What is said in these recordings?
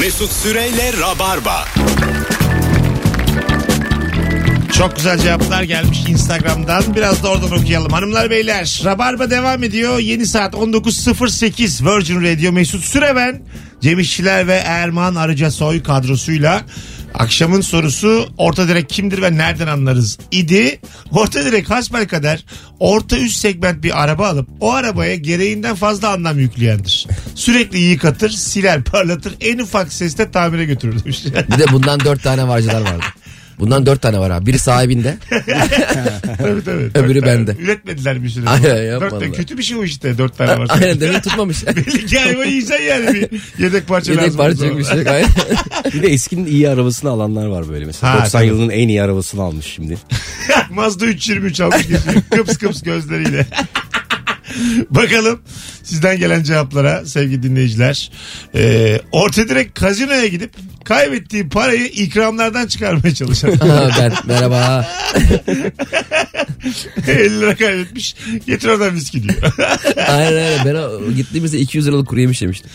Mesut Süreyle Rabarba. Çok güzel cevaplar gelmiş Instagram'dan. Biraz da oradan okuyalım. Hanımlar beyler Rabarba devam ediyor. Yeni saat 19.08 Virgin Radio Mesut Süre ben. Cem İşçiler ve Erman Arıca Soy kadrosuyla akşamın sorusu orta direk kimdir ve nereden anlarız idi. Orta direk hasbel kadar orta üst segment bir araba alıp o arabaya gereğinden fazla anlam yükleyendir. Sürekli yıkatır, siler, parlatır, en ufak sesle tamire götürür demiş. Bir de bundan dört tane varcılar vardı. Bundan dört tane var abi. Biri sahibinde. Tabii, tabii. Öbürü Dört tane. bende. Üretmediler bir süre. Aynen, dört tane. yapmadılar. Kötü bir şey o işte dört tane var. Aynen demin tutmamış. Belli ki hayvan yiyeceksin yani bir yedek parça Yedek lazım. parça bir şey yok. Aynen. Bir de eskinin iyi arabasını alanlar var böyle mesela. Ha, 90 tabii. yılının en iyi arabasını almış şimdi. Mazda 323 almış geçiyor. Kıps kıps gözleriyle. Bakalım sizden gelen cevaplara sevgili dinleyiciler. Ee, orta direkt kazinoya gidip kaybettiği parayı ikramlardan çıkarmaya çalışan. Ha, ben merhaba. 50 lira kaybetmiş. Getir oradan viski diyor. Aynen aynen. Ben o- gittiğimizde 200 liralık kuru yemiş yemiştim.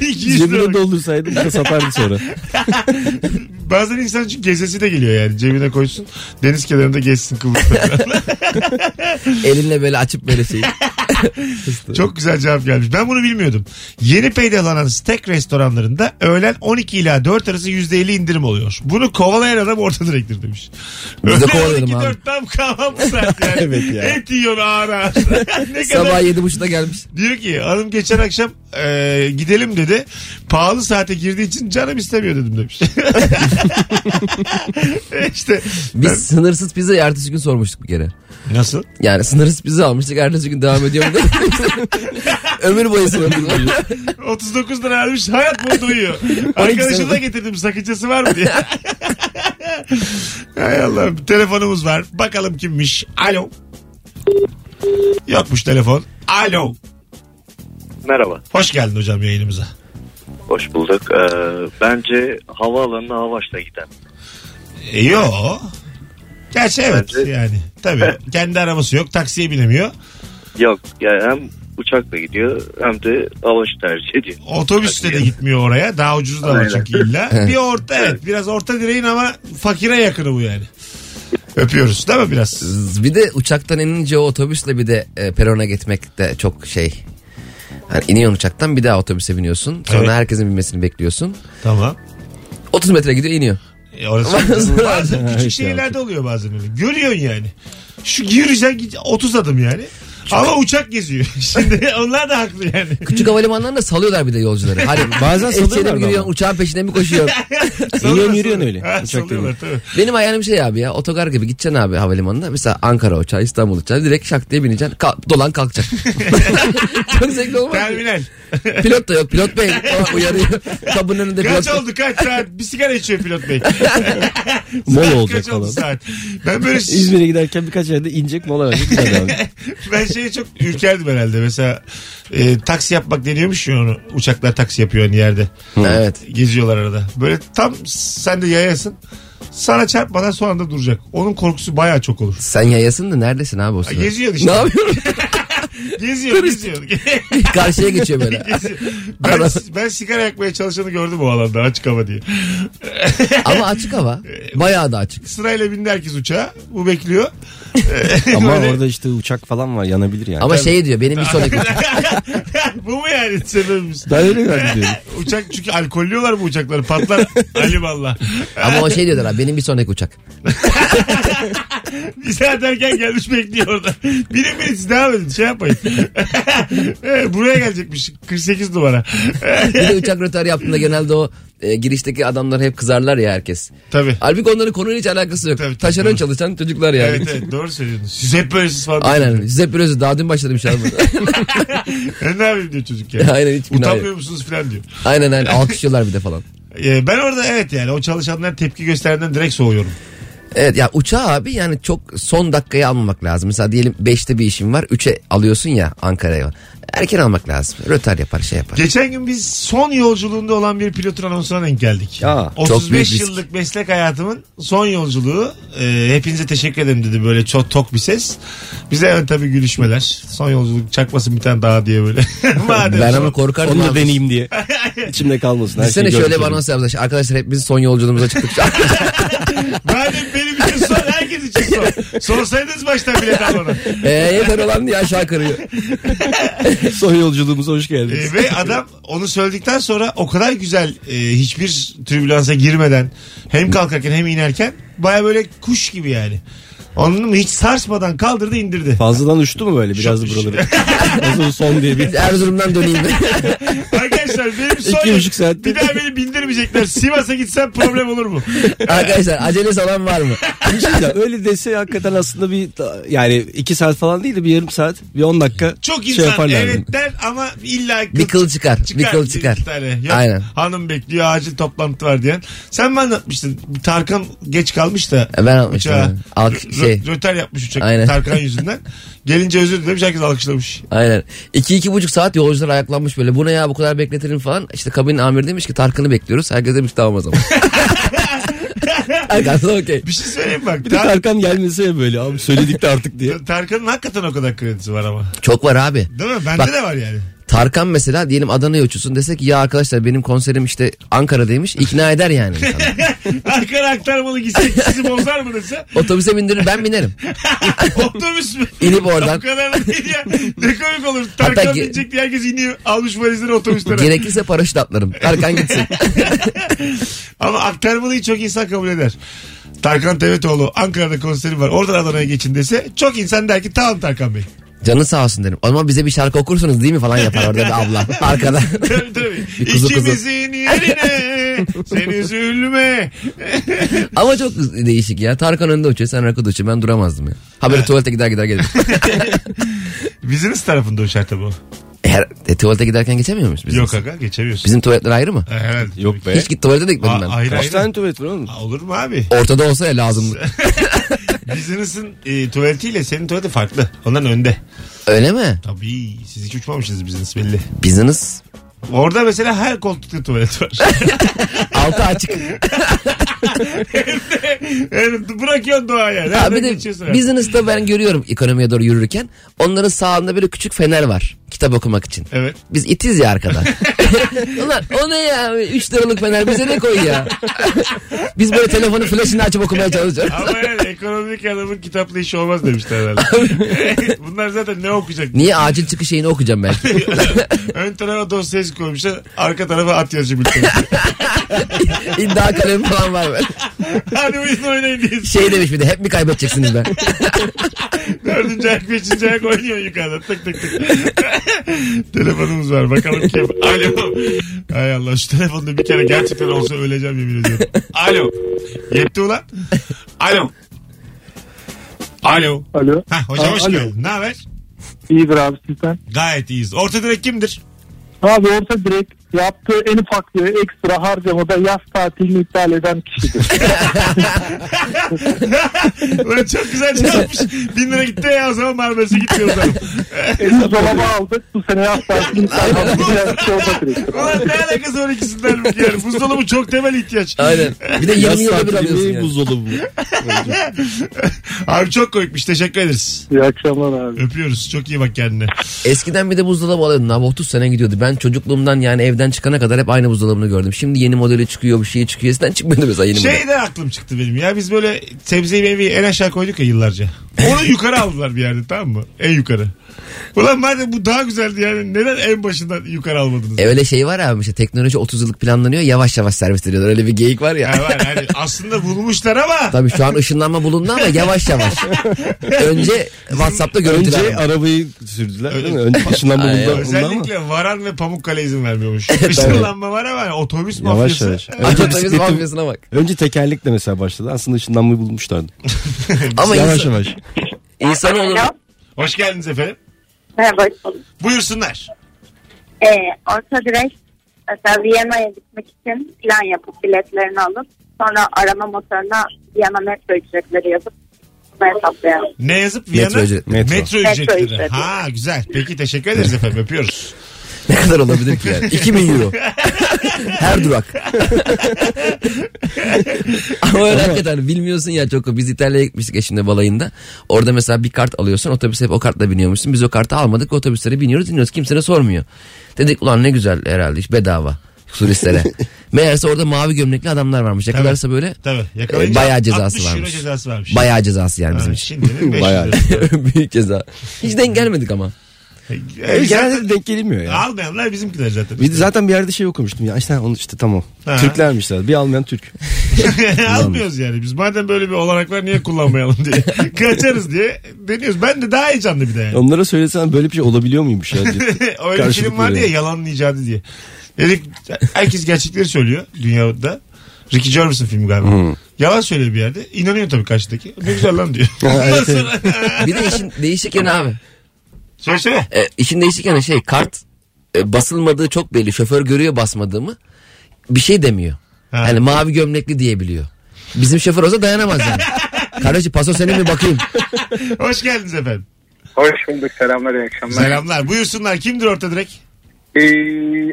200 lira. Cebine doldursaydım da satardı sonra. Bazen insan için gezesi de geliyor yani. Cebine koysun. Deniz kenarında gezsin Kıbrıs'ta. Elinle böyle açıp böyle şey. Çok güzel cevap gelmiş. Ben bunu bilmiyordum. Yeni peydahlanan steak restoranlarında öğlen 12 ila 4 arası %50 indirim oluyor. Bunu kovalayan adam orta direktir demiş. Biz de Öğlen kovalayalım 12, abi. 4 tam kahvaltı saat yani. Evet ya. Et yiyor ağır ağır. ne kadar Sabah 7.30'da gelmiş. Diyor ki hanım geçen akşam e, gidelim dedi. Pahalı saate girdiği için canım istemiyor dedim demiş. işte Biz sınırsız pizza ertesi gün sormuştuk bir kere. nasıl? Yani sınırsız pizza almıştık ertesi gün devam ediyor mu? Ömür boyu sınırsız. 39 lira almış hayat boyu doyuyor. Arkadaşına da getirdim sakıncası var mı diye. Hay Allah'ım telefonumuz var. Bakalım kimmiş. Alo. Yokmuş telefon. Alo. Merhaba, Hoş geldin hocam yayınımıza. hoş bulduk. Ee, bence havaalanına Havaş'la giden. E, yo. Gerçi evet Bence- yani. Tabii kendi arabası yok taksiye binemiyor. Yok, yani hem uçakla gidiyor hem de Havaş'ı tercih ediyor. Otobüsle de gitmiyor oraya. Daha ucuz da var Aynen. çünkü illa. Bir orta evet biraz orta direğin ama fakire yakını bu yani. Öpüyoruz değil mi biraz? Bir de uçaktan inince o otobüsle bir de e, perona gitmek de çok şey. Yani iniyorsun uçaktan bir daha otobüse biniyorsun. Sonra Evet. herkesin binmesini bekliyorsun. Tamam. 30 metre gidiyor iniyor. E orası bazen küçük şehirlerde oluyor bazen öyle. Görüyorsun yani. Şu gireceksin git- 30 adım yani. Ama uçak geziyor. Şimdi onlar da haklı yani. Küçük havalimanlarında salıyorlar bir de yolcuları. Hani Bazen Eskişehir'e salıyorlar mi da giriyorsun ama. uçağın peşine mi koşuyorsun? Salıyorlar, yürüyorsun salıyorlar. öyle. Ha, Uçak salıyorlar tabii. Benim hayalim şey abi ya otogar gibi gideceksin abi havalimanına. Mesela Ankara uçağı İstanbul uçağı direkt şak diye bineceksin. Kalk- dolan kalkacak. Çok zevkli olmaz. mı? Terminal. Pilot da yok pilot bey o uyarıyor. Kabının önünde pilot. Kaç oldu kaç saat? Bir sigara içiyor pilot bey. Mol Saat olacak kaç oldu falan. saat? Ben böyle İzmir'e giderken birkaç yerde inecek mola verecek. bir daha devam edecek. ben şeye çok ürkerdim herhalde. Mesela e, taksi yapmak deniyormuş ya onu. Uçaklar taksi yapıyor hani yerde. Evet. Geziyorlar arada. Böyle tam sen de yayasın. Sana çarpmadan son anda duracak. Onun korkusu baya çok olur. Sen yayasın da neredesin abi o sırada? geziyorsun işte. Ne yapıyorsun? Geziyor, geziyor. Karşıya geçiyor böyle. geziyor. Ben, ben sigara yakmaya çalışanı gördüm o alanda açık hava diye. Ama açık hava. Bayağı da açık. Sırayla bindi herkes uçağa. Bu bekliyor. Ama Böyle- orada işte uçak falan var yanabilir yani. Ama şey diyor benim bir sonraki bu mu yani sebebimiz? ben öyle zannediyorum. Uçak çünkü alkollüyorlar bu uçakları. Patlar. Alim Allah. ama o şey diyorlar abi benim bir sonraki uçak. Bir saat erken gelmiş bekliyor orada. Biri biri siz devam edin şey yapmayın. Buraya gelecekmiş 48 numara. Bir de uçak rötar yaptığında genelde o e, girişteki adamlar hep kızarlar ya herkes. Tabii. Halbuki onların konuyla hiç alakası yok. Tabii, tabii, Taşeron doğru. çalışan çocuklar yani. Evet evet doğru söylüyorsunuz. Siz hep böylesiniz falan. Aynen. Size biraz daha dün başladım şu an. Ben ne yapayım diyor çocuk yani. Aynen, hiç günah yok. Utanmıyor musunuz falan diyor. aynen aynen. Alkışlıyorlar bir de falan. Ee, ben orada evet yani o çalışanlar tepki gösterenden direkt soğuyorum. Evet ya uçağı abi yani çok son dakikaya almamak lazım. Mesela diyelim 5'te bir işin var 3'e alıyorsun ya Ankara'ya. Erken almak lazım. Rötar yapar şey yapar. Geçen gün biz son yolculuğunda olan bir pilotun anonsuna denk geldik. Ya, çok büyük 35 risk. yıllık meslek hayatımın son yolculuğu. Ee, hepinize teşekkür ederim dedi böyle çok tok bir ses. Bize evet tabii gülüşmeler. Son yolculuk çakmasın bir tane daha diye böyle. Madem ben son- ama korkardım. Onu da abi. deneyeyim diye. İçimde kalmasın. her Düşünsene şeyi şöyle bir görmüş anons yapmışlar. Arkadaşlar hepimiz son yolculuğumuza çıktık. Madem benim için son herkes için son. Sorsaydınız baştan bilet almadan. Eee yeter olan diye aşağı kırıyor. oldum. Son yolculuğumuza hoş Ee, geldiniz. ve adam onu söyledikten sonra o kadar güzel e, hiçbir türbülansa girmeden hem kalkarken hem inerken baya böyle kuş gibi yani. Anladın mı? Hiç sarsmadan kaldırdı indirdi. Fazladan uçtu mu böyle biraz da Çok buraları? Hazır son diye bir. Biz Erzurum'dan döneyim. Arkadaşlar benim son... İki buçuk saatte. Bir daha beni bindirmeyecekler. Sivas'a gitsem problem olur mu? Arkadaşlar acelesi olan var mı? Bir şey de öyle dese hakikaten aslında bir yani iki saat falan değil de bir yarım saat bir on dakika Çok şey insan yaparlardı. evet der ama illa Bir kıl çıkar. Bir kıl çıkar. iki tane. Yok, Aynen. Hanım bekliyor acil toplantı var diyen. Sen bana anlatmıştın. Tarkan geç kalmış da. E, Ben almıştım. uçağa. yani. Alk Rö- şey. Röter yapmış uçak Aynen. Tarkan yüzünden. Gelince özür dilemiş herkes alkışlamış. Aynen. İki iki buçuk saat yolcular ayaklanmış böyle. Bu ne ya bu kadar bekletirim falan. İşte kabinin amiri demiş ki Tarkan'ı bekliyoruz. Herkes demiş tamam o zaman. Tarkan da okey. Bir şey söyleyeyim mi bak. Bir de Tar- Tarkan gelmese ya böyle abi söyledik de artık diye. Tarkan'ın hakikaten o kadar kredisi var ama. Çok var abi. Değil mi? Bende Bak- de var yani. Tarkan mesela diyelim Adana'ya uçuyorsun. Dese ki ya arkadaşlar benim konserim işte Ankara'daymış. İkna eder yani. insanı. Arkana aktarmalı gitsek sizi bozar mı dese. Otobüse bindirir ben binerim. Otobüs mü? İnip oradan. O kadar da değil ya. Ne komik olur. Tarkan Hatta ge- binecek diye herkes iniyor. Almış valizleri otobüslere. Gerekirse paraşüt atlarım. Tarkan gitsin. Ama aktarmalıyı çok insan kabul eder. Tarkan Tevetoğlu Ankara'da konserim var. Oradan Adana'ya geçin dese çok insan der ki tamam Tarkan Bey. Canı sağ olsun derim. O zaman bize bir şarkı okursunuz değil mi falan yapar orada bir abla. Arkada. Tabii tabii. Bir kuzu kuzu. İkimizin yerine sen üzülme. Ama çok değişik ya. Tarkan önde uçuyor sen arkada uçuyor. Ben duramazdım ya. Haberi tuvalete gider gider gelir. Biziniz tarafında uçar tabii. o. Her, e, tuvalete giderken geçemiyor muyuz biz? Yok aga geçemiyorsun. Bizim tuvaletler ayrı mı? Ha, Herhalde. Yok be. Hiç git tuvalete de gitmedim ben. A- ayrı Kaç ayrı. tane tuvalet var oğlum? Aa, Olur mu abi? Ortada olsa ya lazım. Bizinizin e, tuvaletiyle senin tuvaleti farklı. Onların önde. Öyle mi? Tabii siz hiç uçmamışsınız biziniz belli. Biziniz Orada mesela her koltukta tuvalet var. altı açık. yani bırakıyorsun doğaya. Ha, Nereden bir de geçiyorsun? artık? business'ta ben görüyorum ekonomiye doğru yürürken. Onların sağında böyle küçük fener var. Kitap okumak için. Evet. Biz itiz ya arkada. Ulan o ne ya? 3 liralık fener bize ne koy ya? Biz böyle telefonun flaşını açıp okumaya çalışıyoruz. Ama yani ekonomik adamın kitapla işi olmaz demişler herhalde. Bunlar zaten ne okuyacak? Niye acil çıkış şeyini okuyacağım belki? Ön tarafa dosyayı koymuşlar. Arka tarafa at yazıcı bir tane. İddia kalemi falan var böyle. Hadi buyurun oynayın diye. Şey demiş bir de hep mi kaybedeceksiniz ben? Dördüncü ayak, beşinci ayak oynuyor yukarıda. Tık tık tık. Telefonumuz var. Bakalım kim? Alo. Hay Allah şu telefonda bir kere gerçekten olsa öleceğim yemin ediyorum. Alo. Yetti ulan. Alo. Alo. Alo. Hah, hocam Aa, hoş alo. geldin. Ne haber? İyidir abi sizden. Gayet iyiyiz. Orta direk kimdir? Abi orta direkt yaptığı en ufak bir ekstra harcamada yaz tatilini iptal eden kişidir. Ulan çok güzel çalmış. Bin lira gitti ya o zaman Marmaris'e gitmiyoruz hanım. Buzdolabı aldık bu sene yaz tatilini iptal eden kişi orta direkt. Ulan ne alakası var ikisinden bu yani. Buzdolabı çok temel ihtiyaç. Aynen. Bir de 20 Yaz yılda bir alıyorsun tatilini yani. buzdolabı bu. Abi çok komikmiş. Teşekkür ederiz. İyi akşamlar abi. Öpüyoruz. Çok iyi bak kendine. Eskiden bir de buzdolabı alıyordun abi 30 sene gidiyordu. Ben çocukluğumdan yani evden çıkana kadar hep aynı buzdolabını gördüm. Şimdi yeni modeli çıkıyor bir şey çıkıyor. Eskiden çıkmıyordu mesela yeni model. Şeyden Şey aklım çıktı benim ya. Biz böyle sebzeyi meyveyi en aşağı koyduk ya yıllarca. Onu yukarı aldılar bir yerde tamam mı? En yukarı. Ulan madem bu daha güzeldi yani neden en başından yukarı almadınız? E öyle şey var abi işte teknoloji 30 yıllık planlanıyor yavaş yavaş servis ediyorlar. Öyle bir geyik var ya. Yani var, yani aslında bulmuşlar ama Tabii şu an ışınlanma bulundu ama yavaş yavaş. Önce WhatsApp'ta görüntüler. Önce arabayı sürdüler değil mi? Önce başından Ay, bulundu. Özellikle. özellikle Varan ve Pamukkale izin vermiyormuş. Işınlanma var ama hani otobüs Yavaş mafyası. yavaş. Önce Önce otobüs bisikletin mafyasına bak. Önce tekerlekle mesela başladı. Aslında ışınlanmayı bulmuşlardı. Ama yavaş insan, yavaş. insanoğlu- Alo. Hoş geldiniz efendim. Merhaba. hoş bulduk. Buyursunlar. Ee, orta direkt Mesela Viyana'ya gitmek için plan yapıp biletlerini alıp sonra arama motoruna Viyana metro ücretleri yazıp bunu hesaplayalım. Ne yazıp Viyana? Metro ücret- Metro. metro. Metro ücretleri. ücreti. Ha güzel. Peki teşekkür ederiz efendim. Öpüyoruz. Ne kadar olabilir ki yani? 2000 euro. Her durak. Ama öyle hakikaten bilmiyorsun ya çok. Biz İtalya'ya gitmiştik eşimle balayında. Orada mesela bir kart alıyorsun. Otobüse hep o kartla biniyormuşsun. Biz o kartı almadık. Otobüslere biniyoruz iniyoruz. Kimse de sormuyor. Dedik ulan ne güzel herhalde. Hiç bedava. Turistlere. Meğerse orada mavi gömlekli adamlar varmış. Yakalarsa böyle Tabii. Yakalayınca E, bayağı cezası 60 euro varmış. cezası varmış. bayağı cezası yani bizim Ha, için. Şimdi de 5 Bayağı. lira. Büyük ceza. Hiç denk gelmedik ama. E, zaten Genelde denk gelmiyor ya. Almayanlar bizimkiler zaten. Bir de zaten bir yerde şey okumuştum ya işte onu işte tamam. Ha. Türklermiş zaten. Bir Alman Türk. Almıyoruz yani biz. Madem böyle bir olanak var niye kullanmayalım diye. Kaçarız diye deniyoruz. Ben de daha heyecanlı bir de yani. Onlara söylesen böyle bir şey olabiliyor muymuş ya? Öyle bir film Karşılıklı vardı ya yani. yalanın icadı diye. Dedik herkes gerçekleri söylüyor dünyada. Ricky Gervais'ın filmi galiba. Yalan söylüyor bir yerde. İnanıyor tabii karşıdaki. Ne güzel lan diyor. Ondan sonra... Bir de işin değişik yanı abi. Söylesene. e, işin değişik yanı şey kart e, basılmadığı çok belli. Şoför görüyor basmadığımı. Bir şey demiyor. Ha. Yani mavi gömlekli diyebiliyor. Bizim şoför olsa dayanamaz yani. Kardeşim paso senin mi bakayım? Hoş geldiniz efendim. Hoş bulduk. Selamlar, iyi akşamlar. Selamlar. Buyursunlar. Kimdir orta direkt? Ee,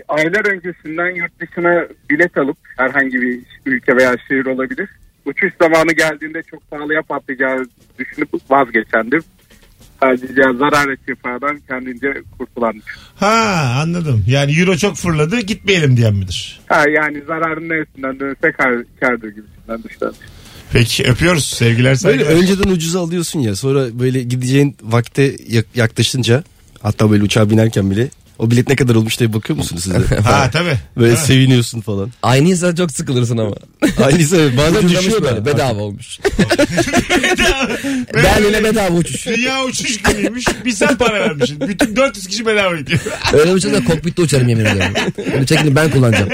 aylar öncesinden yurt dışına bilet alıp herhangi bir ülke veya şehir olabilir. Uçuş zamanı geldiğinde çok pahalıya patlayacağı düşünüp vazgeçendim. Sadece zarar cefadan kendince kurtulandır. Ha anladım. Yani euro çok fırladı gitmeyelim diyen midir? Ha, yani zararın neresinden dönse kar, kardır gibisinden düşünüyorum. Peki öpüyoruz. Sevgiler Böyle saygılar. önceden ucuza alıyorsun ya sonra böyle gideceğin vakte yak- yaklaşınca hatta böyle uçağa binerken bile o bilet ne kadar olmuş diye bakıyor musunuz siz de? Ha tabii. Böyle Tabii. seviniyorsun falan. Aynı insan çok sıkılırsın ama. Aynısı bazen Ucuzlamış düşüyor böyle da. bedava olmuş. Berlin'e bedava uçuş. Dünya uçuş günüymüş. Bir sen para vermişsin. Bütün 400 kişi bedava gidiyor. Öyle bir şey de kokpitte uçarım yemin ediyorum. Bunu çekini ben kullanacağım.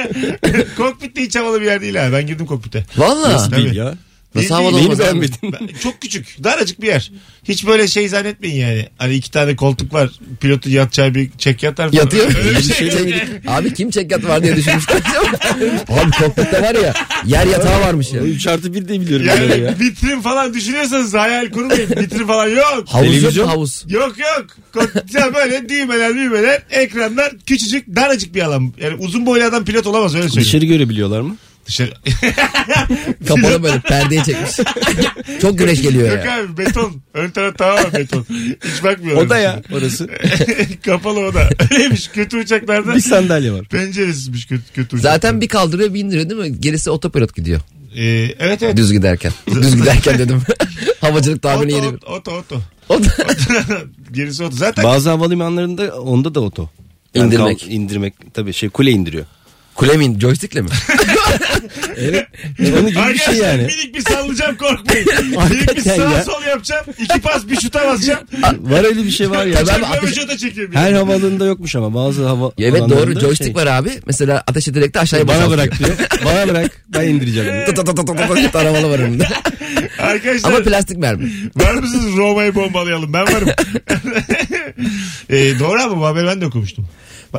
Kokpitte hiç havalı bir yer değil ha. Ben girdim kokpite. Valla. Tabii. Değil ya. Nasıl havalı Neyini olmaz abi? beğenmedin? Ben- Çok küçük. Daracık bir yer. Hiç böyle şey zannetmeyin yani. Hani iki tane koltuk var. Pilotun yatacağı bir çek yatar. falan. Yatıyor. Öyle bir şey yok. Çek- abi kim çekyat var diye düşünmüştüm. abi kokpitte var ya yer yatağı varmış ya. 3 artı 1 de biliyorum ben öyle Yani ya. vitrin falan düşünüyorsanız hayal kurmayın. Vitrin falan yok. Havuz yok Televizyon? mu havuz? Yok yok. Kot- Ya böyle düğmeler düğmeler ekranlar küçücük daracık bir alan. Yani uzun boylu adam pilot olamaz öyle söyleyeyim. Dışarı görebiliyorlar mı? Dışarı. Kapalı böyle perdeye çekmiş. Çok güneş geliyor Yok ya. abi beton. Ön taraf tamamen beton. Hiç bakmıyorum. O da ya şey. orası. Kapalı oda. Öyleymiş kötü uçaklarda. bir sandalye var. Penceresizmiş kötü, kötü uçaklar. Zaten bir kaldırıyor bir indiriyor değil mi? Gerisi otopilot gidiyor. Ee, evet evet. Düz giderken. Düz giderken dedim. Havacılık tahmini Oto, yeri. oto, oto, oto. O da Gerisi oto. Zaten Bazı havalimanlarında onda da oto. İndirmek. kal- indirmek tabii şey kule indiriyor. kule mi? indi- Joystick'le mi? Onun gibi bir Arkadaşlar şey yani. minik bir sallayacağım korkmayın. minik bir Hakikaten sağ ya. sol yapacağım. İki pas bir şuta basacağım. Var öyle bir şey var ya. Tabii abi, Çakma ateş- ve şuta çekiyorum. Her havaalanında yokmuş ama bazı hava evet alanlarında doğru joystick şey- var abi. Mesela ateş ederek de aşağıya Bana boşaltıyor. bırak diyor. Bana bırak. Ben indireceğim. diyor. Tı tı tı tı tı tı tı Taramalı var önünde. Arkadaşlar Ama plastik mermi. var mısınız Roma'yı bombalayalım ben varım. ee, doğru ama bu haberi ben de okumuştum.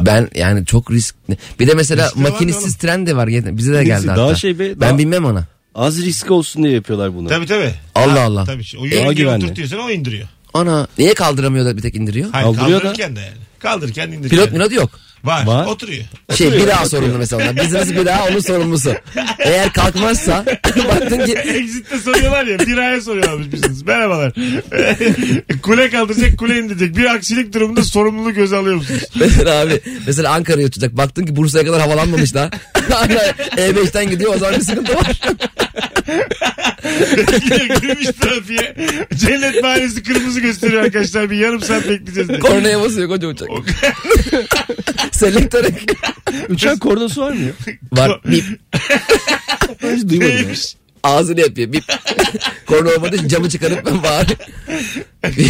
Ben yani çok riskli. Bir de mesela Riskli var makinistsiz oğlum. tren de var. Bize de geldi Makinistsiz, hatta. daha şey be, Ben daha- bilmem ona. Az risk olsun diye yapıyorlar bunu. Tabii tabii. Allah Allah. Tabii. O Daha yörüngeye güvenli. oturtuyorsan o indiriyor. Ana niye kaldıramıyor da bir tek indiriyor? Hayır, Kaldırıyor da. kaldırırken de yani. Kaldırırken indiriyor. Pilot minot yok. Var, Var. Oturuyor. Şey bir daha sorumlu mesela. onlar. Bizimiz bir daha onun sorumlusu. Eğer kalkmazsa baktın ki E, Exit'te soruyorlar ya. Bir aya soruyorlarmış biziniz. Merhabalar. kule kaldıracak kule indirecek. Bir aksilik durumunda sorumluluğu göze alıyor musunuz? mesela abi mesela Ankara'ya uçacak. Baktın ki Bursa'ya kadar havalanmamış daha. Hala E5'ten gidiyor o zaman bir sıkıntı var. Gidiyor, Girmiş trafiğe. Cennet Mahallesi kırmızı gösteriyor arkadaşlar. Bir yarım saat bekleyeceğiz. diye. Kornaya basıyor koca uçak. Selektöre Uçak kordosu var mı ya? var bip Ben hiç duymadım. ya. Neymiş? ağzını yapıyor bip. Korna olmadı camı çıkarıp ben bağır.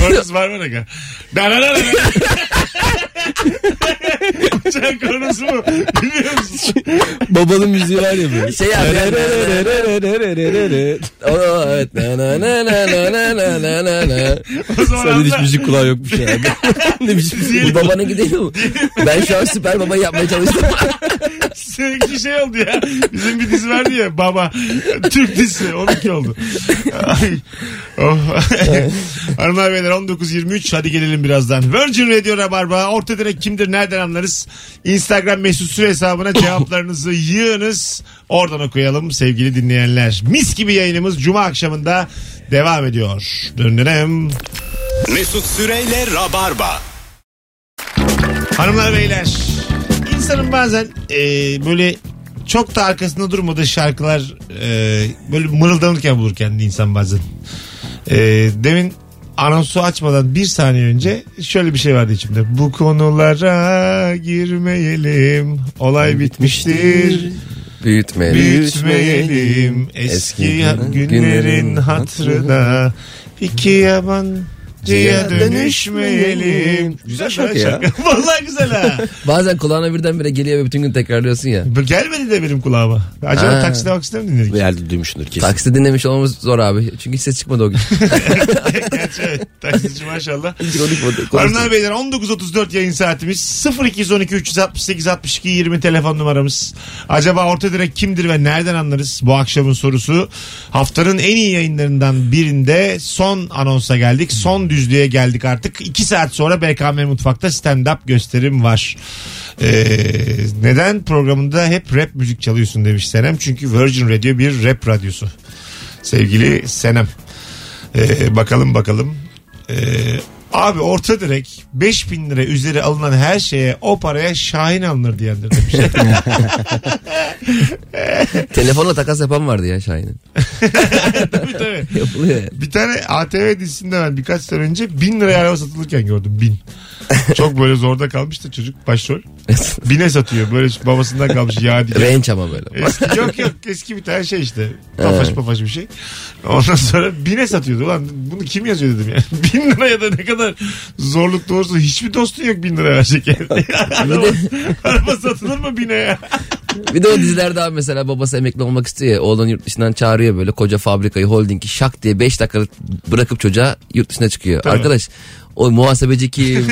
Kornuz var mı aga? Da da da da. Uçağın kornusu mu? Biliyor musun? Babanın müziği var ya böyle. Şey abi. Oo, evet. Na, na, na, na, na, na, na, na, na. O zaman Sende hiç anla. müzik kulağı yokmuş yani. ne biçim Bu babana gidelim mi? Ben şu an süper babayı yapmaya çalıştım. Seninki şey oldu ya. Bizim bir dizi vardı ya baba. Türk dizisi. Onunki oldu. Ay. Oh. Hanımlar beyler 19.23 hadi gelelim birazdan. Virgin Radio Rabarba. Orta direk kimdir nereden anlarız? Instagram mesut süre hesabına cevaplarınızı yığınız. Oradan okuyalım sevgili dinleyenler. Mis gibi yayınımız Cuma akşamında devam ediyor. Döndünem. Mesut Süreyle Rabarba. Hanımlar beyler insanın bazen e, böyle çok da arkasında durmadığı şarkılar e, böyle mırıldanırken bulur kendini insan bazen. E, demin anonsu açmadan bir saniye önce şöyle bir şey vardı içimde. Bu konulara girmeyelim olay bitmiştir Büyütmeyelim. büyütmeyelim eski günlerin hatırına iki yabancıya dönüşmeyelim. Güzel şarkı ya. Vallahi güzel ha. Bazen kulağına birdenbire geliyor ve bütün gün tekrarlıyorsun ya. Bu Gelmedi de benim kulağıma. Acaba Ha. takside makside mi dinledik? Bir yerde duymuşsundur kesin. Taksi dinlemiş olmamız zor abi. Çünkü ses çıkmadı o gün. Gerçi evet. Taksici maşallah. Hiç konuşmadı. Hanımlar beyler 19.34 yayın saatimiz 0212 368 62 20 telefon numaramız. Acaba orta direk kimdir ve nereden anlarız? Bu akşamın sorusu haftanın en iyi yayınlarından birinde son anonsa geldik. Son düzlüğe geldik artık. 2 saat sonra BKM Mutfak'ta stand-up gösterim var. Ee, neden programında hep rap müzik çalıyorsun demiş Senem. Çünkü Virgin Radio bir rap radyosu. Sevgili Senem. Ee, bakalım bakalım. Ee, abi orta direk 5000 lira üzeri alınan her şeye o paraya Şahin alınır diyendir demiş. Telefonla takas yapan vardı ya Şahin'in. tabii tabii. Yapılıyor yani. Bir tane ATV dizisinde ben birkaç sene önce 1000 liraya araba satılırken gördüm 1000. Çok böyle zorda kalmıştı çocuk başrol. Bine satıyor böyle babasından kalmış ya diye. Range ama böyle. Eski, yok yok eski bir tane şey işte. Pafaş pafaş bir şey. Ondan sonra bine satıyordu. Ulan bunu kim yazıyor dedim ya. Bin liraya da ne kadar zorluk doğrusu hiçbir dostun yok bin liraya verecek yani. araba, araba satılır mı bine ya? Bir de o dizilerde abi mesela babası emekli olmak istiyor ya. Oğlan yurt dışından çağırıyor böyle koca fabrikayı holdingi şak diye 5 dakika bırakıp çocuğa yurt dışına çıkıyor. Arkadaş o muhasebeci kim? yani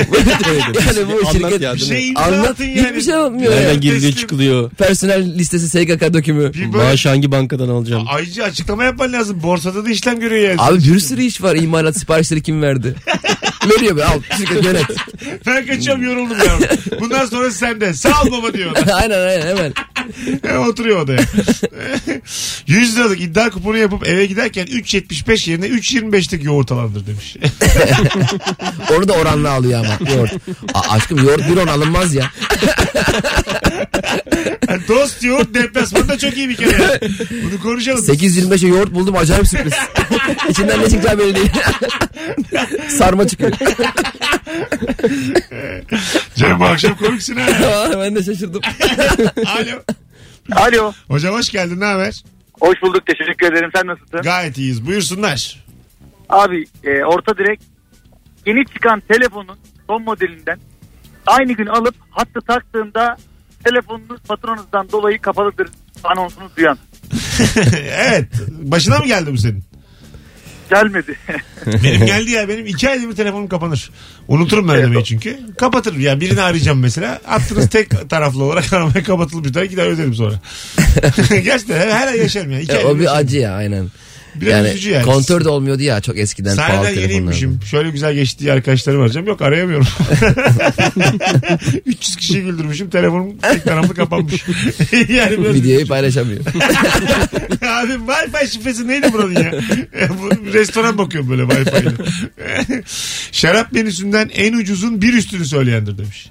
bu Anlat şirket ya, Bir değil mi? şey anlat anlatın yani. hiçbir şey yapmıyor ya. Nereden giriliyor Teslim. çıkılıyor. Personel listesi SGK dökümü. Bir böyle- Maaş hangi bankadan alacağım? Ayrıca açıklama yapman lazım. Borsada da işlem görüyor yani. Abi bir sürü iş var imalat siparişleri kim verdi? Veriyor be al şirket yönet. Ben kaçıyorum yoruldum ya. Bundan sonra sende. Sağ ol baba diyor. aynen aynen hemen. E, Oturuyor odaya. 100 liralık iddia kuponu yapıp eve giderken 3.75 yerine 3.25'lik yoğurt alandır demiş. Onu da oranla alıyor ama yoğurt. A- aşkım yoğurt bir on alınmaz ya. Yani dost yoğurt deplasmanda çok iyi bir kere. ya. Bunu konuşalım. 825'e yoğurt buldum acayip sürpriz. İçinden ne çıkacağı belli değil. Sarma çıkıyor. Cem bu akşam komiksin ha. ben de şaşırdım. Alo. Alo. Hocam hoş geldin ne haber? Hoş bulduk. Teşekkür ederim. Sen nasılsın? Gayet iyiyiz buyursunlar. Abi e, orta direkt yeni çıkan telefonun son modelinden aynı gün alıp hattı taktığında telefonunuz patronunuzdan dolayı kapalıdır anonsunu duyan. evet başına mı geldi bu senin? Gelmedi. Benim geldi ya benim iki ayda bir telefonum kapanır. Unuturum ben ödemeyi çünkü. Kapatırım ya birini arayacağım mesela. Attınız tek taraflı olarak aramaya kapatılır bir tane gider öderim sonra. Gerçekten her, her ay yaşarım ya. İki Ya, ayda E, o bir yaşarım. bir acı ya aynen. Biraz üzücü yani, yani. kontör de olmuyordu ya çok eskiden pahalı Sahneden telefonlarda. yeniymişim. Şöyle güzel geçti diye arkadaşlarımı arayacağım. Yok arayamıyorum. 300 kişiyi güldürmüşüm. Telefonum tek taraflı kapanmış. yani biraz Videoyu paylaşamıyor. Abi Wi-Fi şifresi neydi buranın ya? Bu Restoran bakıyorum böyle Wi-Fi ile. Şarap menüsünden en ucuzun bir üstünü söyleyendir demiş.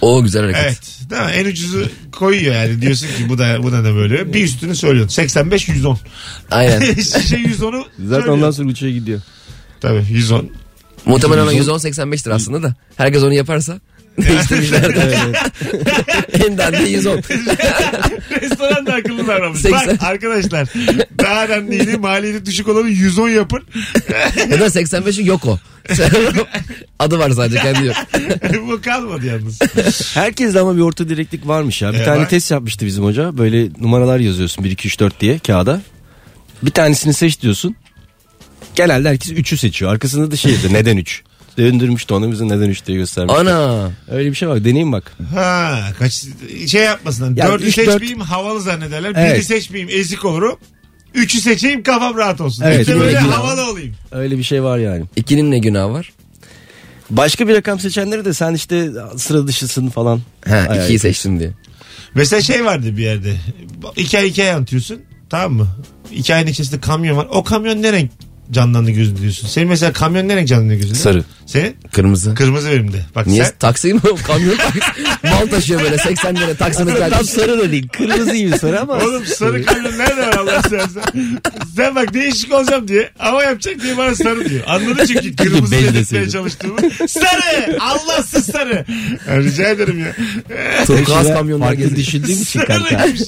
o güzel hareket. Evet. Değil mi? En ucuzu koyuyor yani. Diyorsun ki bu da bu da ne böyle. Bir üstünü söylüyorsun. 85 110. Aynen. Şişe 110'u Zaten ondan sonra uçağa gidiyor. Tabii 110. Muhtemelen 110-85 lira aslında da. Herkes onu yaparsa değiştirmişlerdir. en dandiği 110. Restoran da akıllı aramış. Bak 80. arkadaşlar daha önemliydi. Maliyeti düşük olanı 110 yapın. Ya da 85'i yok o. Adı var sadece kendi yok. bu kalmadı yalnız. Herkeste ama bir orta direklik varmış ya. Bir E, tane var. test yapmıştı bizim hoca. Böyle numaralar yazıyorsun 1 2 3 4 diye kağıda. Bir tanesini seç diyorsun. Genelde herkes 3'ü seçiyor. Arkasında da şey yazıyor. Neden 3? Döndürmüştü onu bize neden üç diye göstermişti. Ana. Öyle bir şey var. Deneyim bak. Ha, kaç şey yapmasın. Ya Dördü üç, dört- seçmeyeyim havalı zannederler. Evet. Biri seçmeyeyim ezik olurum. Üçü seçeyim kafam rahat olsun. Evet, İşte böyle böyle günah. havalı olayım. Öyle bir şey var yani. İkinin ne günahı var? Başka bir rakam seçenleri de sen işte sıra dışısın falan. Ha Ay, ikiyi ay. seçtim diye. Mesela şey vardı bir yerde. Hikaye hikaye anlatıyorsun. Tamam mı? Hikayenin içerisinde kamyon var. O kamyon ne renk canlandı gözünde diyorsun. Senin mesela kamyon ne renk canlandı gözünde? Sarı. Senin? Kırmızı. Kırmızı benim de. Bak Niye? sen. Taksi mi? Kamyon taksi. Mal taşıyor böyle 80 lira taksinin Tam kardeşi. sarı da değil. Kırmızı gibi sarı ama. Oğlum sarı kamyon nerede var Allah seversen? Sen bak değişik olacağım diye ama yapacak diye bana sarı diyor. Anladın çünkü kırmızı belli dedirtmeye deseydin. çalıştığımı. Sarı! Allahsız sarı! Ya rica ederim ya. Turkuaz kamyonlar Farklı geziyor. düşündüğüm için kanka. Sarıymış.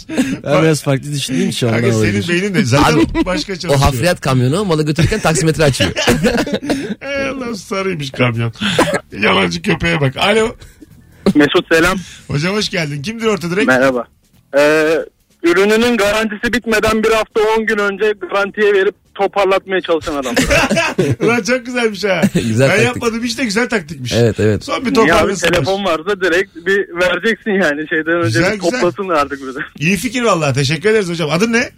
Ben biraz farklı düşündüğüm için ondan Kanka senin olabilir. beynin de zaten başka çalışıyor. O hafriyat kamyonu malı götürürken taksimetre açıyor. Ey Allah Ee, sarıymış kamyon. Yalancı köpeğe bak. Alo. Mesut selam. Hocam hoş geldin. Kimdir orta direkt? Merhaba. Ee, ürününün garantisi bitmeden bir hafta 10 gün önce garantiye verip toparlatmaya çalışan adam. Ulan çok güzelmiş ha. Güzel ben taktik. yapmadım hiç de güzel taktikmiş. Evet evet. Son bir ya bir toparlasın. telefon varsa direkt bir vereceksin yani şeyden önce Güzel, bir güzel. toplasın artık bize. İyi fikir vallahi. Teşekkür ederiz hocam. Adın ne?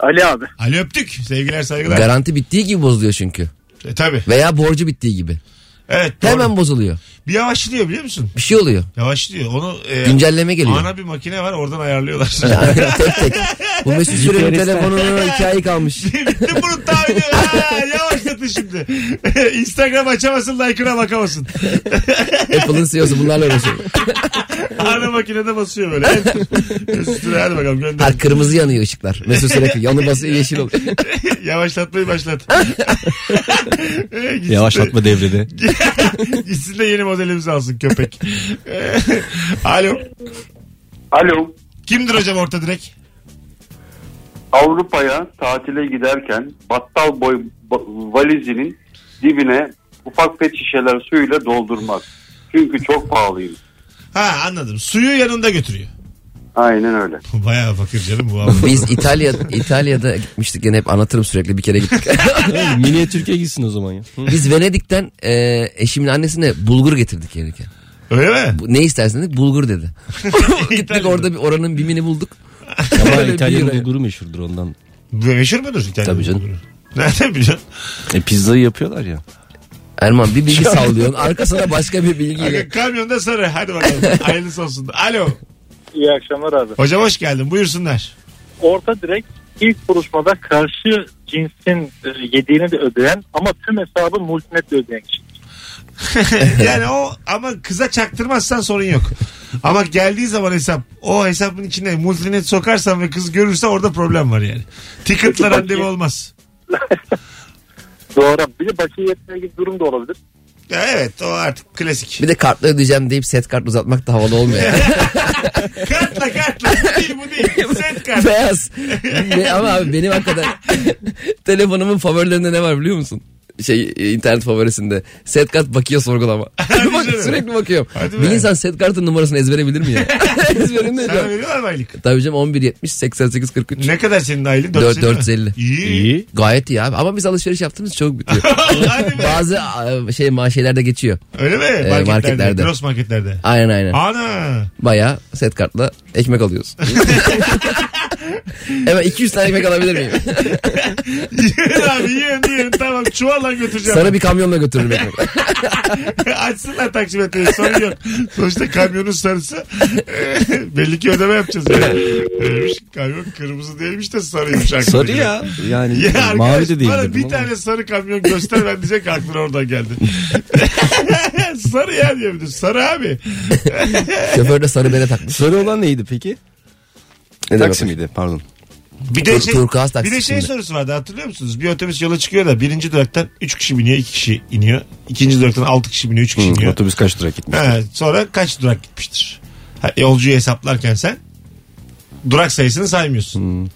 Ali abi. Ali öptük. Sevgiler saygılar. Garanti bittiği gibi bozuluyor çünkü. e, tabii. Veya borcu bittiği gibi. Evet. doğru. Hemen bozuluyor. Bir yavaşlıyor biliyor musun? Bir şey oluyor. Yavaşlıyor. Onu e, Güncelleme geliyor. ana bir makine var oradan ayarlıyorlar. tek tek. Bu Mesut Süren'in GPS'ten. telefonunun hikayeyi kalmış. Bitti bunun tahmini. Ha, Yavaşlatın şimdi. Instagram açamasın like'ına bakamasın. Apple'ın CEO'su bunlarla uğraşıyor. Ana makinede basıyor böyle. Üstüne hadi bakalım gönder. Her kırmızı yanıyor ışıklar. Mesut Süren yanı basıyor yeşil oluyor. Yavaşlatmayı başlat. Ee, gitsin de- Yavaşlatma devrede. Gitsin de yeni modelimizi alsın köpek. Ee, Alo. Alo. Kimdir hocam orta direk? Avrupa'ya tatile giderken battal boy ba- valizinin dibine ufak pet şişeler suyuyla doldurmak. Çünkü çok pahalıyım. Ha anladım. Suyu yanında götürüyor. Aynen öyle. Bayağı fakir canım bu abi. Biz İtalya, İtalya'da gitmiştik gene hep anlatırım sürekli bir kere gittik. Miniye Türkiye gitsin o zaman ya. Biz Venedik'ten e, eşimin annesine bulgur getirdik yerken. Öyle mi? Bu- Ne istersen dedi bulgur dedi. Gittik İtalya'da. orada bir oranın bimini bulduk. Ama Öyle İtalyan bir yere. bulguru meşhurdur ondan. Bu meşhur mudur İtalya? Tabii canım. bulguru? Nereden biliyorsun? E pizzayı yapıyorlar ya. Erman bir bilgi sallıyorsun arkasına başka bir bilgiyle. Aga, kamyonda sarı. Hadi bakalım. Hayırlısı olsun. Alo. İyi akşamlar abi. Hocam hoş geldin. Buyursunlar. Orta direkt ilk buluşmada karşı cinsin e, yediğini de ödeyen ama tüm hesabı multinetle ödeyen kişi. yani o ama kıza çaktırmazsan sorun yok. Ama geldiği zaman hesap o hesabın içine multinet sokarsan ve kız görürse orada problem var yani. Ticket'la randevu olmaz. Doğru. Bir de bakiye yetme gibi durum da olabilir. Ya evet o artık klasik. Bir de kartla ödeyeceğim deyip set kart uzatmak da havalı olmuyor. kartla kartla. Bu değil bu değil. Set kart. Beyaz. Be- ama abi benim hakikaten telefonumun favorilerinde ne var biliyor musun? Şey e, internet favorisinde. Set kart bakıyor sorgulama. Hadi Bak, canım. sürekli bakıyor. Hadi bir be. insan set kartın numarasını ezbere bilir mi ya? Ezberinde Sana yok. veriyorlar mı aylık? Tabii canım 1170 88 43. Ne kadar senin aylığın? Dört- 450 mi? 450. İyi. Gayet iyi abi ama biz alışveriş yaptığımız çok bitiyor. Hadi be. Bazı e, şey maaşelerde geçiyor. Öyle mi? marketlerde. Ee, marketlerde. Gross marketlerde. Aynen aynen. Ana. Bayağı set kartla ekmek alıyoruz. Hemen 200 tane ekmek alabilir miyim? yiyin abi yiyin yiyin. Tamam çuvalla götüreceğim. Sana bir kamyonla götürürüm ekmek. Açsınlar taksimetreyi sorun yok. Sonuçta kamyonun sarısı e, belli ki ödeme yapacağız. Yani. Öyleymiş, kamyon kırmızı değilmiş de sarıymış. aklına Sarı göre. ya. Yani Ya arkadaş, mavi de değil. bana dedim bir ama. tane sarı kamyon göster ben diyecek ki aklına oradan geldi. sarı ya diyebilir. Sarı abi. Şoför de sarı bere takmış. Sarı olan neydi peki? Taksi miydi pardon. Bir de Tur- şey, turkuaz taksi bir de şey şimdi. sorusu vardı hatırlıyor musunuz? Bir otobüs yola çıkıyor da birinci duraktan 3 kişi biniyor 2 kişi iniyor. İkinci duraktan 6 kişi biniyor 3 kişi iniyor. Otobüs kaç durak gitmiş? Ha, sonra kaç durak gitmiştir? Ha, yolcuyu hesaplarken sen durak sayısını saymıyorsun.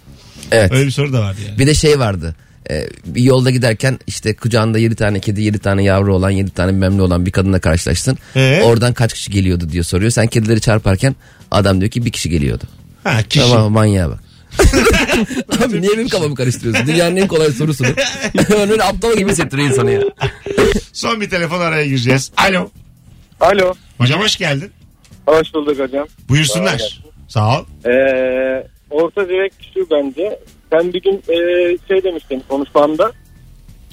Evet. Öyle bir soru da vardı yani. Bir de şey vardı. Ee, bir yolda giderken işte kucağında 7 tane kedi, 7 tane yavru olan, 7 tane memle olan bir kadınla karşılaştın. Ee? Oradan kaç kişi geliyordu diyor soruyor. Sen kedileri çarparken adam diyor ki bir kişi geliyordu. Ha kişi. Tamam manyağa bak. Abi niye benim kafamı karıştırıyorsun? Dünyanın en kolay sorusunu. Öyle aptal gibi hissettiriyor insanı ya. Son bir telefon araya gireceğiz. Alo. Alo. Hocam hoş geldin. Hoş bulduk hocam. Buyursunlar. Sağ ol. Ee, orta direk şu bence. Sen bir gün e, şey demiştin konuşmanda.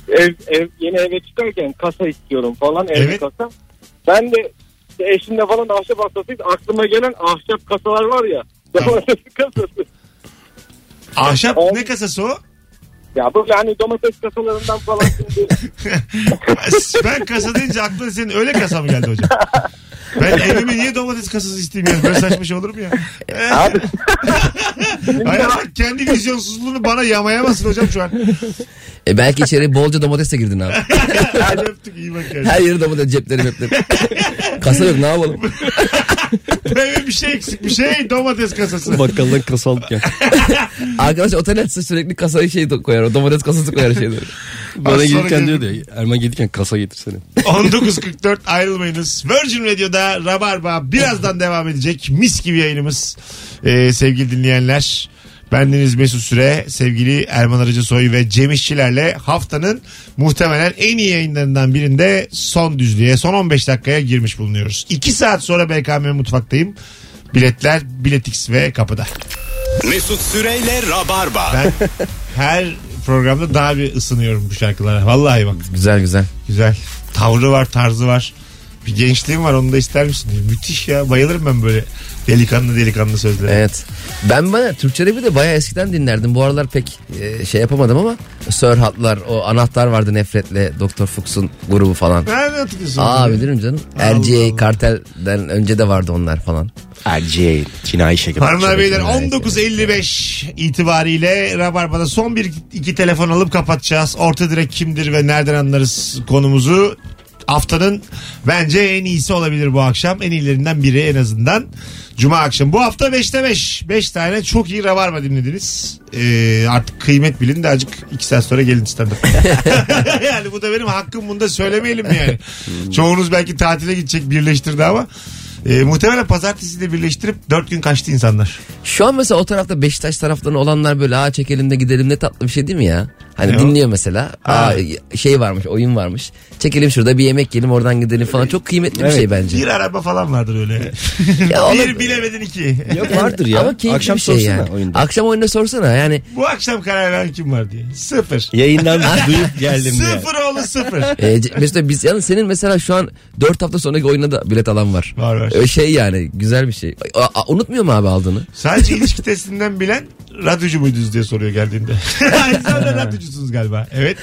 Ev, ev, yeni eve çıkarken kasa istiyorum falan evde Evet. kasa. Ben de işte eşimle falan ahşap hastasıyız. Aklıma gelen ahşap kasalar var ya. Tamam. Domates kasası. Ahşap Ol- ne kasası o? Ya böyle hani domates kasalarından falan şimdi. ben kasa deyince aklına senin öyle kasa mı geldi hocam? Ben evime niye domates kasası isteyeyim ya? Böyle saçma şey olur mu ya? Hayır, bak, kendi vizyonsuzluğunu bana yamayamasın hocam şu an. E belki içeri bolca domatesle girdin abi. Hadi öptük iyi bak. kendine. Her yeri domates cepleri cepleri. Kasa yok ne yapalım? Böyle bir şey eksik bir şey domates kasası. Bakkaldan kasa alıp gel. Arkadaş otel açsa sürekli kasayı şey koyar. o Domates kasası koyar şeyleri. Bana sonra gelirken gel- diyor ya Erman gelirken kasa getirsene. 19.44 ayrılmayınız. Virgin Radio'da Rabarba birazdan devam edecek. Mis gibi yayınımız. Ee, sevgili dinleyenler. Bendeniz Mesut Süre, sevgili Erman Arıcı Soy ve Cem İşçilerle haftanın muhtemelen en iyi yayınlarından birinde son düzlüğe, son 15 dakikaya girmiş bulunuyoruz. 2 saat sonra BKM mutfaktayım. Biletler, biletix ve kapıda. Mesut Süreyle Rabarba. Ben her programda daha bir ısınıyorum bu şarkılara. Vallahi bak. Güzel güzel. Güzel. Tavrı var, tarzı var. Bir gençliğim var onu da ister misin? diye. Müthiş ya. Bayılırım ben böyle delikanlı delikanlı sözlere. Evet. Ben bana Türkçe rapi de bayağı eskiden dinlerdim. Bu aralar pek e, şey yapamadım ama Sörhatlar, o anahtar vardı nefretle Doktor Fuchs'un grubu falan. Nereden hatırlıyorsun? Aa bilirim canım. Allah RCA Allah. Kartel'den önce de vardı onlar falan. Erciye cinayi şekilde. Hanımlar beyler 19.55 itibariyle Rabarba'da son bir iki telefon alıp kapatacağız. Orta direk kimdir ve nereden anlarız konumuzu. Haftanın bence en iyisi olabilir bu akşam. En iyilerinden biri en azından. Cuma akşam. Bu hafta 5'te 5. 5 tane çok iyi Rabarba dinlediniz. Ee, artık kıymet bilin de azıcık 2 saat sonra gelin istedim. yani bu da benim hakkım bunu da söylemeyelim mi yani. Çoğunuz belki tatile gidecek birleştirdi ama. Ee, muhtemelen pazartesi de birleştirip 4 gün kaçtı insanlar. Şu an mesela o tarafta Beşiktaş taraftan olanlar böyle aa çekelim de gidelim ne tatlı bir şey değil mi ya? Hani Ne o? dinliyor mesela. Aa, Ha. şey varmış oyun varmış. Çekelim şurada bir yemek yiyelim oradan gidelim falan. Çok kıymetli bir şey bence. Bir araba falan vardır öyle. Ya bir olabilir. bilemedin iki. Yok vardır ya. Ama keyifli Akşam bir şey sorsana yani. oyunda. Akşam oyunda sorsana yani. e, Bu akşam karar veren kim var diye. Sıfır. Yayından duyup geldim diye. sıfır oğlu sıfır. E, C- Mesut biz yalnız senin mesela şu an 4 hafta sonraki oyuna da bilet alan var. Var, var. E, şey yani güzel bir şey. A- a- unutmuyor mu abi aldığını? Sadece ilişki testinden bilen radyocu muydunuz diye soruyor geldiğinde. Aynı zamanda radyocusunuz galiba. Evet.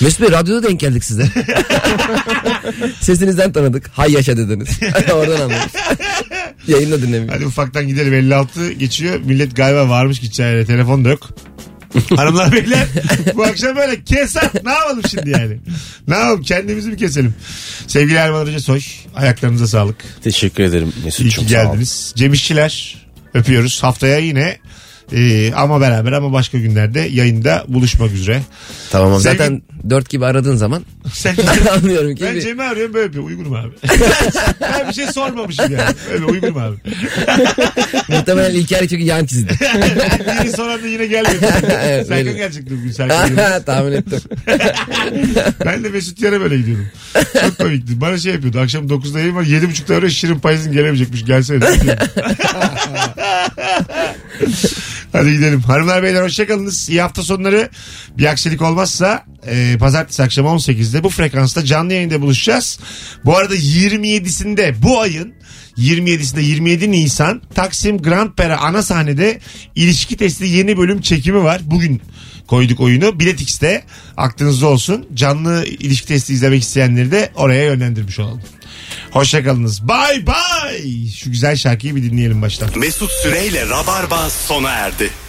Mesut Bey radyoda denk geldik size. Sesinizden tanıdık. Hay yaşa dediniz. Oradan anlamış. Yayında dinlemiyor. Hadi ufaktan gidelim 56 geçiyor. Millet galiba varmış gideceği yere. Telefon da yok. Hanımlar beyler bu akşam böyle kesat ne yapalım şimdi yani? Ne yapalım kendimizi mi keselim? Sevgili Erman Hoca Soy ayaklarınıza sağlık. Teşekkür ederim İyi ki Mesut'cum. sağ ol. geldiniz. Cem İşçiler öpüyoruz. Haftaya yine e, ama beraber ama başka günlerde yayında buluşmak üzere. Tamam Sevgi- zaten 4 gibi aradığın zaman Sen anlıyorum ki. ben bir- Cem'i arıyorum böyle yapıyor. Uygunum abi. ben bir şey sormamışım yani. Öyle uygunum abi. Muhtemelen İlker çünkü yan çizdi. Yeni soran da yine gelmedi. Evet, öyle. Serkan gelecekti bugün. Serkan Yunus. Tahmin ettim. Ben de Mesut Yer'e böyle gidiyordum. Çok komikti. Bana şey yapıyordu. Akşam 9'da yayın var. 7.30'da arıyor. Şirin Payız'ın gelemeyecekmiş. Gelsene. de diyordu. Hadi gidelim. Hanımlar beyler hoşçakalınız. İyi hafta sonları. Bir aksilik olmazsa e, pazartesi akşam 18'de bu frekansta canlı yayında buluşacağız. Bu arada 27'sinde bu ayın 27'sinde 27 Nisan Taksim Grand Pera ana sahnede ilişki testi yeni bölüm çekimi var. Bugün koyduk oyunu. Bilet X'te aklınızda olsun. Canlı ilişki testi izlemek isteyenleri de oraya yönlendirmiş olalım. Hoşçakalınız. Bay bay. Şu güzel şarkıyı bir dinleyelim baştan. Mesut Süreyle Rabarba sona erdi.